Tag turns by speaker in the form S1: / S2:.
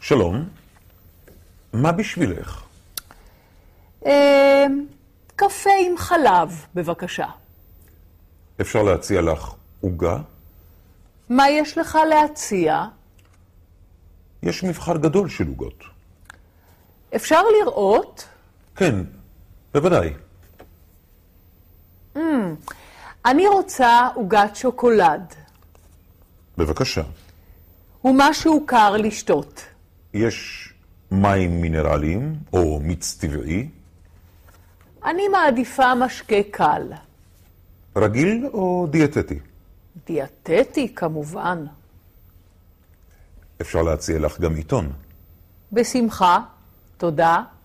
S1: שלום, מה בשבילך?
S2: אה, קפה עם חלב, בבקשה.
S1: אפשר להציע לך עוגה?
S2: מה יש לך להציע?
S1: יש מבחר גדול של עוגות.
S2: אפשר לראות?
S1: כן, בוודאי.
S2: אני רוצה עוגת שוקולד
S1: בבקשה.
S2: ומשהו קר לשתות.
S1: יש מים מינרליים או מיץ טבעי,
S2: אני מעדיפה משקה קל.
S1: רגיל או דיאטטי?
S2: דיאטטי, כמובן.
S1: אפשר להציע לך גם עיתון.
S2: בשמחה. תודה.